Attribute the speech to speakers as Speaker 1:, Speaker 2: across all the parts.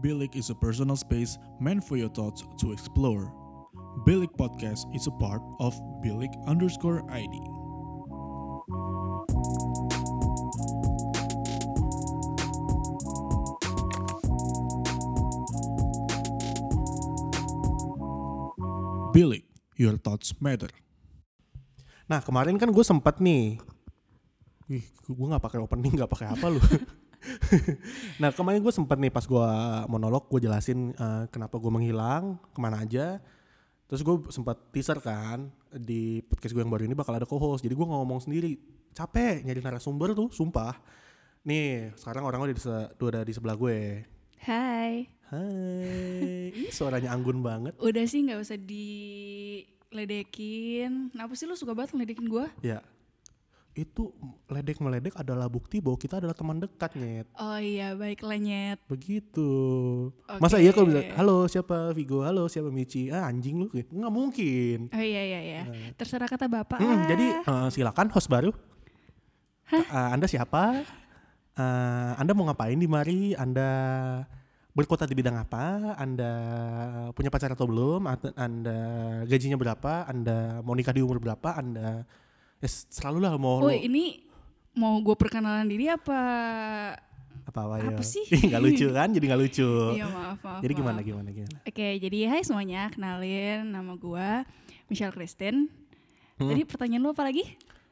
Speaker 1: Bilik is a personal space meant for your thoughts to explore. Bilik Podcast is a part of Bilik underscore ID. Bilik, your thoughts matter.
Speaker 2: Nah kemarin kan gue sempat nih, ih gue nggak pakai opening nggak pakai apa lu. nah kemarin gue sempat nih pas gue monolog gue jelasin eh, kenapa gue menghilang kemana aja. Terus gue sempat teaser kan di podcast gue yang baru ini bakal ada co-host. Jadi gue ngomong sendiri capek nyari narasumber tuh sumpah. Nih sekarang orang udah di, se- udah di sebelah gue.
Speaker 3: Hai,
Speaker 2: Hai, Ih, suaranya anggun banget.
Speaker 3: udah sih nggak usah diledekin. Kenapa sih lu suka banget ngeledekin gue?
Speaker 2: Ya, itu ledek meledek adalah bukti bahwa kita adalah teman dekat nyet.
Speaker 3: Oh iya, baik lenyet.
Speaker 2: Begitu.
Speaker 3: Oke.
Speaker 2: Masa iya kalau bisa, halo siapa Vigo, halo siapa Michi, ah anjing lu, nggak mungkin.
Speaker 3: Oh iya iya iya. Terserah kata bapak.
Speaker 2: Hmm,
Speaker 3: lah.
Speaker 2: jadi eh, silakan host baru. Eh, anda siapa? Eh, anda mau ngapain di mari? Anda berkota di bidang apa? Anda punya pacar atau belum? At- Anda gajinya berapa? Anda mau nikah di umur berapa? Anda ya, selalu lah mau
Speaker 3: Oh
Speaker 2: lu-
Speaker 3: ini mau gue perkenalan diri apa?
Speaker 2: apa apa ya?
Speaker 3: apa sih?
Speaker 2: Ih, nggak lucu kan? Jadi nggak lucu.
Speaker 3: Iya maaf maaf.
Speaker 2: Jadi gimana
Speaker 3: maaf.
Speaker 2: gimana gimana?
Speaker 3: Oke, jadi hai semuanya, kenalin nama gue Michelle Kristen.
Speaker 2: Hmm.
Speaker 3: Tadi pertanyaan lu apa lagi?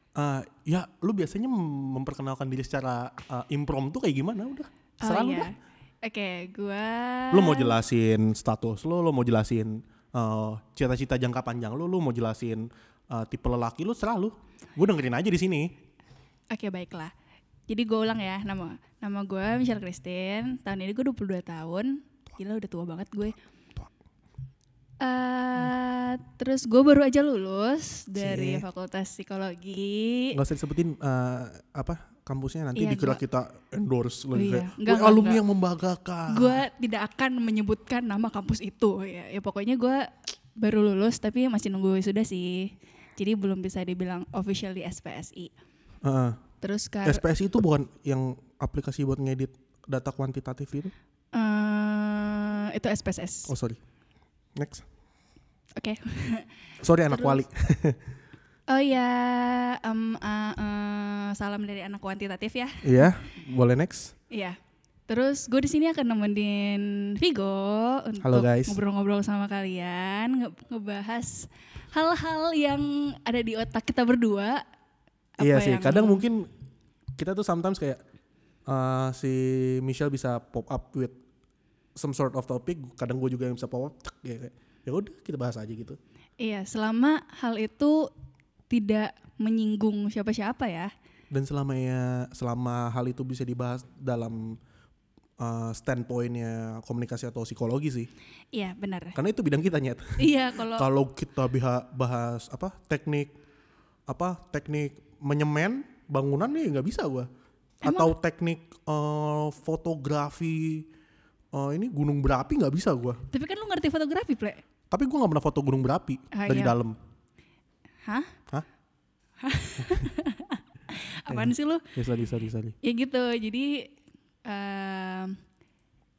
Speaker 2: Eh, ya, lu biasanya mem- memperkenalkan diri secara eh, impromptu kayak gimana udah?
Speaker 3: Oh
Speaker 2: Selalu
Speaker 3: iya. Oke, gue.
Speaker 2: Lu mau jelasin status lu, lu mau jelasin eh, cita-cita jangka panjang lu, lu mau jelasin eh, tipe lelaki lu, serah lu. Gue dengerin aja di sini.
Speaker 3: Oke baiklah. Jadi gue ulang ya nama nama gue Michelle Christine. Tahun ini gue 22 tahun. Gila udah tua banget gue. Eh, terus gue baru aja lulus
Speaker 2: Cie.
Speaker 3: dari Fakultas Psikologi.
Speaker 2: Gak usah disebutin eh, apa kampusnya nanti
Speaker 3: Iya,
Speaker 2: dikira
Speaker 3: gua-
Speaker 2: kita endorse
Speaker 3: Oh
Speaker 2: lagi
Speaker 3: iya,
Speaker 2: kayak,
Speaker 3: enggak,
Speaker 2: "Wih,
Speaker 3: enggak,
Speaker 2: alumni
Speaker 3: enggak.
Speaker 2: yang membanggakan.
Speaker 3: Gue tidak akan menyebutkan nama kampus itu. Ya, ya pokoknya gue baru lulus tapi masih nunggu wisuda sih. Jadi belum bisa dibilang official di SPSI.
Speaker 2: Heeh.
Speaker 3: Terus kar-
Speaker 2: SPS itu bukan yang aplikasi buat ngedit data kuantitatif itu.
Speaker 3: eh, itu SPSS.
Speaker 2: Oh, sorry. Next.
Speaker 3: Oke.
Speaker 2: Sorry anak wali.
Speaker 3: Terus- Oh ya, em, eh, eh, salam dari anak kuantitatif ya.
Speaker 2: Iya, boleh next.
Speaker 3: Iya. Terus gue di sini akan nemenin Vigo untuk
Speaker 2: Halo, guys.
Speaker 3: ngobrol-ngobrol sama kalian, nge- ngebahas hal-hal yang ada di otak kita berdua. Apa
Speaker 2: Iya sih,
Speaker 3: yang-
Speaker 2: kadang mungkin kita tuh sometimes kayak eh, si Michelle bisa pop up with some sort of topic, kadang gue juga yang bisa pop up, cek, ya, kayak, ya udah kita bahas aja gitu.
Speaker 3: Iya, selama hal itu tidak menyinggung siapa-siapa ya.
Speaker 2: Dan selama ya, selama hal itu bisa dibahas dalam eh, standpointnya komunikasi atau psikologi sih,
Speaker 3: Iya, benar.
Speaker 2: karena itu bidang kita nyet.
Speaker 3: iya, kalau
Speaker 2: Kalau kita biha- bahas apa teknik apa teknik menyemen bangunan nih nggak bisa gua. Atau teknik eh, fotografi eh, ini gunung berapi nggak bisa gua.
Speaker 3: tapi kan lu ngerti fotografi, Ple.
Speaker 2: Tapi gua nggak pernah foto gunung berapi
Speaker 3: Ah,
Speaker 2: dari
Speaker 3: iya.
Speaker 2: dalam.
Speaker 3: Hah?
Speaker 2: Hah?
Speaker 3: Apaan sih lu?
Speaker 2: Ya sorry sorry sorry.
Speaker 3: ya gitu jadi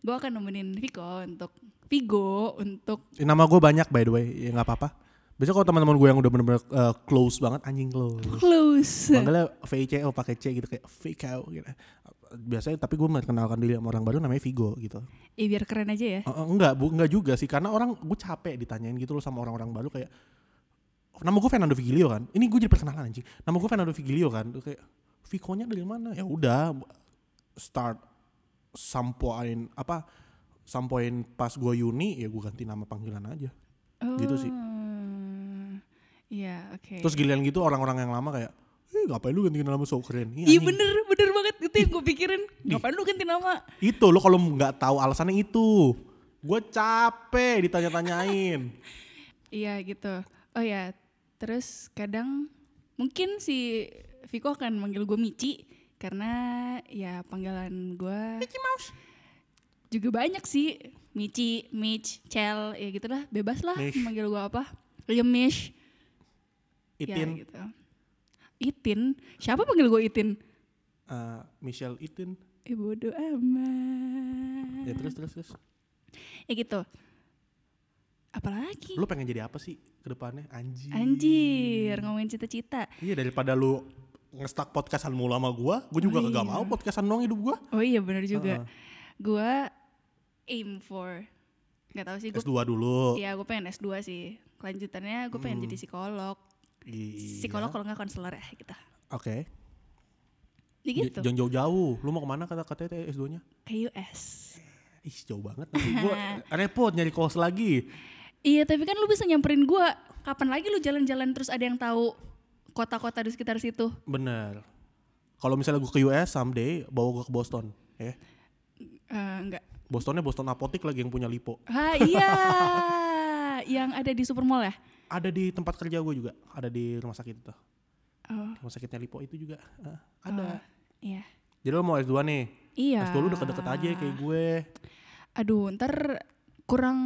Speaker 3: gue akan nemenin Vigo untuk Vigo untuk
Speaker 2: Eh, Nama gua banyak by the way, ya nggak apa-apa. Biasanya kalau teman-teman gue yang udah bener-bener eh, close banget anjing close.
Speaker 3: close
Speaker 2: Manggilnya VCO pakai C gitu kayak Vico gitu. Biasanya tapi gue mengenalkan diri sama orang baru namanya Vigo gitu.
Speaker 3: ya biar keren aja ya
Speaker 2: Eh, eh, enggak, bu, enggak juga sih karena orang gue capek ditanyain gitu loh sama orang-orang baru kayak nama gue Fernando Vigilio kan. Ini gue jadi perkenalan anjing. Nama gue Fernando Vigilio kan. Lu Kayak Vikonya dari mana? Ya udah start some point apa some point pas gue Yuni ya gue ganti nama panggilan aja. gitu sih.
Speaker 3: Oh. Iya, oke.
Speaker 2: Terus giliran gitu orang-orang yang lama kayak Eh, ngapain lu ganti nama so keren? Iya,
Speaker 3: Iya
Speaker 2: anjing.
Speaker 3: bener, bener banget itu yang gue pikirin. Ngapain lu ganti nama?
Speaker 2: Itu lo kalau nggak tahu alasannya itu. Gue capek ditanya-tanyain.
Speaker 3: Iya gitu. Oh ya, terus kadang mungkin si Viko akan manggil gue Mici karena ya panggilan gue juga banyak sih Mici, Mitch, Cel, ya gitulah bebas lah
Speaker 2: Mish.
Speaker 3: manggil gue apa. Ya Mish,
Speaker 2: Itin.
Speaker 3: ya gitu. Itin, siapa panggil gue Itin?
Speaker 2: eh, Michelle Itin.
Speaker 3: Eh bodoh amat.
Speaker 2: Ya terus terus terus.
Speaker 3: ya gitu apalagi
Speaker 2: Lu pengen jadi apa sih ke depannya? Anjir.
Speaker 3: anjir ngomongin cita-cita
Speaker 2: Iya daripada lu ngestak podcastan mulu sama gua, gua juga
Speaker 3: Oh,
Speaker 2: kagak
Speaker 3: iya.
Speaker 2: mau podcastan doang hidup gua.
Speaker 3: oh iya bener juga
Speaker 2: Heeh.
Speaker 3: gua aim for nggak tahu sih gue
Speaker 2: S2 dulu.
Speaker 3: ya gue pengen S2 sih kelanjutannya gue pengen
Speaker 2: Hmm.
Speaker 3: jadi psikolog
Speaker 2: Iya.
Speaker 3: psikolog kalau nggak konselor ya gitu
Speaker 2: Oke.
Speaker 3: ya
Speaker 2: J-
Speaker 3: gitu
Speaker 2: Jangan jauh-jauh. Lu mau kemana kata katanya S2-nya?
Speaker 3: ke US
Speaker 2: Ih, jauh banget. nanti gua repot nyari kos lagi.
Speaker 3: iya tapi kan lu bisa nyamperin gua kapan lagi lu jalan-jalan terus ada yang tahu kota-kota di sekitar situ
Speaker 2: Bener. Kalau misalnya gua ke US someday, bawa gua ke Boston, ya.
Speaker 3: Eh, enggak
Speaker 2: Bostonnya Boston Apotik lagi yang punya Lipo.
Speaker 3: ah iya yang ada di supermall ya
Speaker 2: Ada di tempat kerja gue juga, ada di rumah sakit itu.
Speaker 3: oh
Speaker 2: Rumah sakitnya Lipo itu juga eh, ada.
Speaker 3: oh, iya
Speaker 2: Jadi lo mau S2 nih.
Speaker 3: iya
Speaker 2: S2 lu deket-deket aja kayak gitu. gue.
Speaker 3: aduh ntar kurang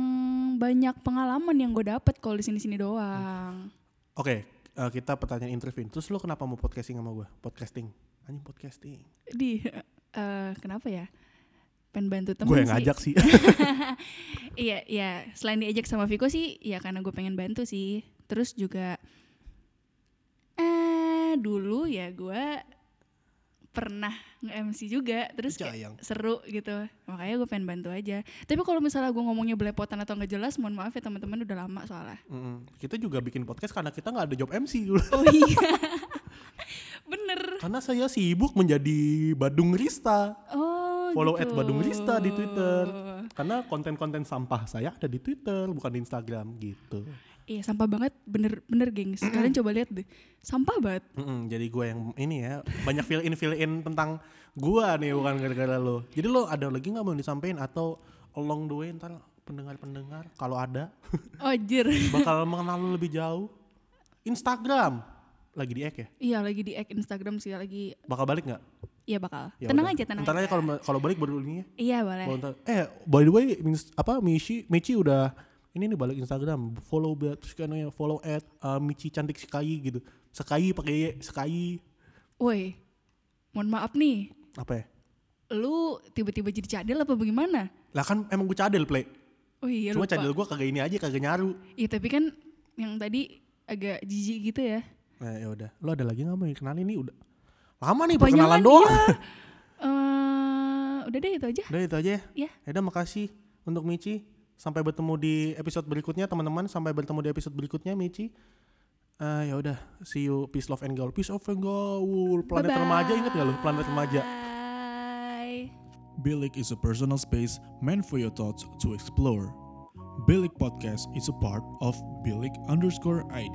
Speaker 3: banyak pengalaman yang gue dapet kalau di sini-sini doang
Speaker 2: Oke, eh, kita pertanyaan interview. Terus lo kenapa mau podcasting sama gue? Podcasting. Anjing podcasting.
Speaker 3: di eh, kenapa ya pengen bantu temen
Speaker 2: Gue
Speaker 3: sih.
Speaker 2: yang ngajak sih.
Speaker 3: Iya, iya. Selain diajak sama Viko sih, ya karena gue pengen bantu sih. Terus juga, eh dulu ya gue pernah nge-MC juga. Terus kayak
Speaker 2: Sayang.
Speaker 3: seru gitu. Makanya gue pengen bantu aja. Tapi kalau misalnya gue ngomongnya belepotan atau nggak jelas, mohon maaf ya teman-teman udah lama soalnya.
Speaker 2: Mm-mm. Kita juga bikin podcast karena kita nggak ada job MC.
Speaker 3: Oh iya. Bener.
Speaker 2: karena saya sibuk menjadi Badung Rista.
Speaker 3: Oh
Speaker 2: Follow at
Speaker 3: gitu.
Speaker 2: Badung Rista di Twitter. Karena konten-konten sampah saya ada di Twitter, bukan di Instagram gitu.
Speaker 3: Iya, sampah banget. Bener-bener, gengs. Kalian coba lihat deh. Sampah banget.
Speaker 2: Mm-mm, jadi gue yang ini ya banyak fill in fill in tentang gue nih bukan gara-gara lo. Jadi lo ada lagi nggak mau disampaikan atau along the way ntar pendengar-pendengar kalau ada
Speaker 3: Oh, jir.
Speaker 2: bakal mengenal lo lebih jauh. Instagram lagi di ek ya.
Speaker 3: Iya lagi di ek Instagram sih lagi
Speaker 2: Bakal balik nggak?
Speaker 3: Iya bakal.
Speaker 2: Ya
Speaker 3: tenang
Speaker 2: udah.
Speaker 3: aja, tenang.
Speaker 2: Ntar aja
Speaker 3: aja.
Speaker 2: kalau kalau balik baru ini ya.
Speaker 3: Iya boleh.
Speaker 2: Baru ntar- Eh by the way Miss- apa Michi Michi udah ini nih balik Instagram follow back terus kan ya, follow at uh, Michi cantik sekayi gitu sekayi pakai Y, sekayi
Speaker 3: Woi, mohon maaf nih,
Speaker 2: apa ya?
Speaker 3: lu tiba-tiba jadi cadel apa bagaimana?
Speaker 2: Lah kan emang gue cadel play.
Speaker 3: Oh iya
Speaker 2: Cuma
Speaker 3: lupa.
Speaker 2: cadel gue kagak ini aja kagak nyaru.
Speaker 3: Iya tapi kan yang tadi agak jijik gitu ya.
Speaker 2: Nah, ya udah. Lo ada lagi nggak mau dikenalin nih udah. Lama nih
Speaker 3: Banyak
Speaker 2: perkenalan
Speaker 3: kan,
Speaker 2: doang.
Speaker 3: iya. Eh, udah deh itu aja.
Speaker 2: Udah itu aja ya.
Speaker 3: Iya.
Speaker 2: Ya udah makasih untuk Michi. Sampai bertemu di episode berikutnya teman-teman. Sampai bertemu di episode berikutnya Michi. Eh ya udah, see you peace love and gaul. Peace of and gaul. Planet
Speaker 3: Bye-bye.
Speaker 2: remaja inget gak lo? Planet remaja.
Speaker 3: Bye.
Speaker 1: Bilik is a personal space meant for your thoughts to explore. Bilik Podcast is a part of Bilik underscore ID.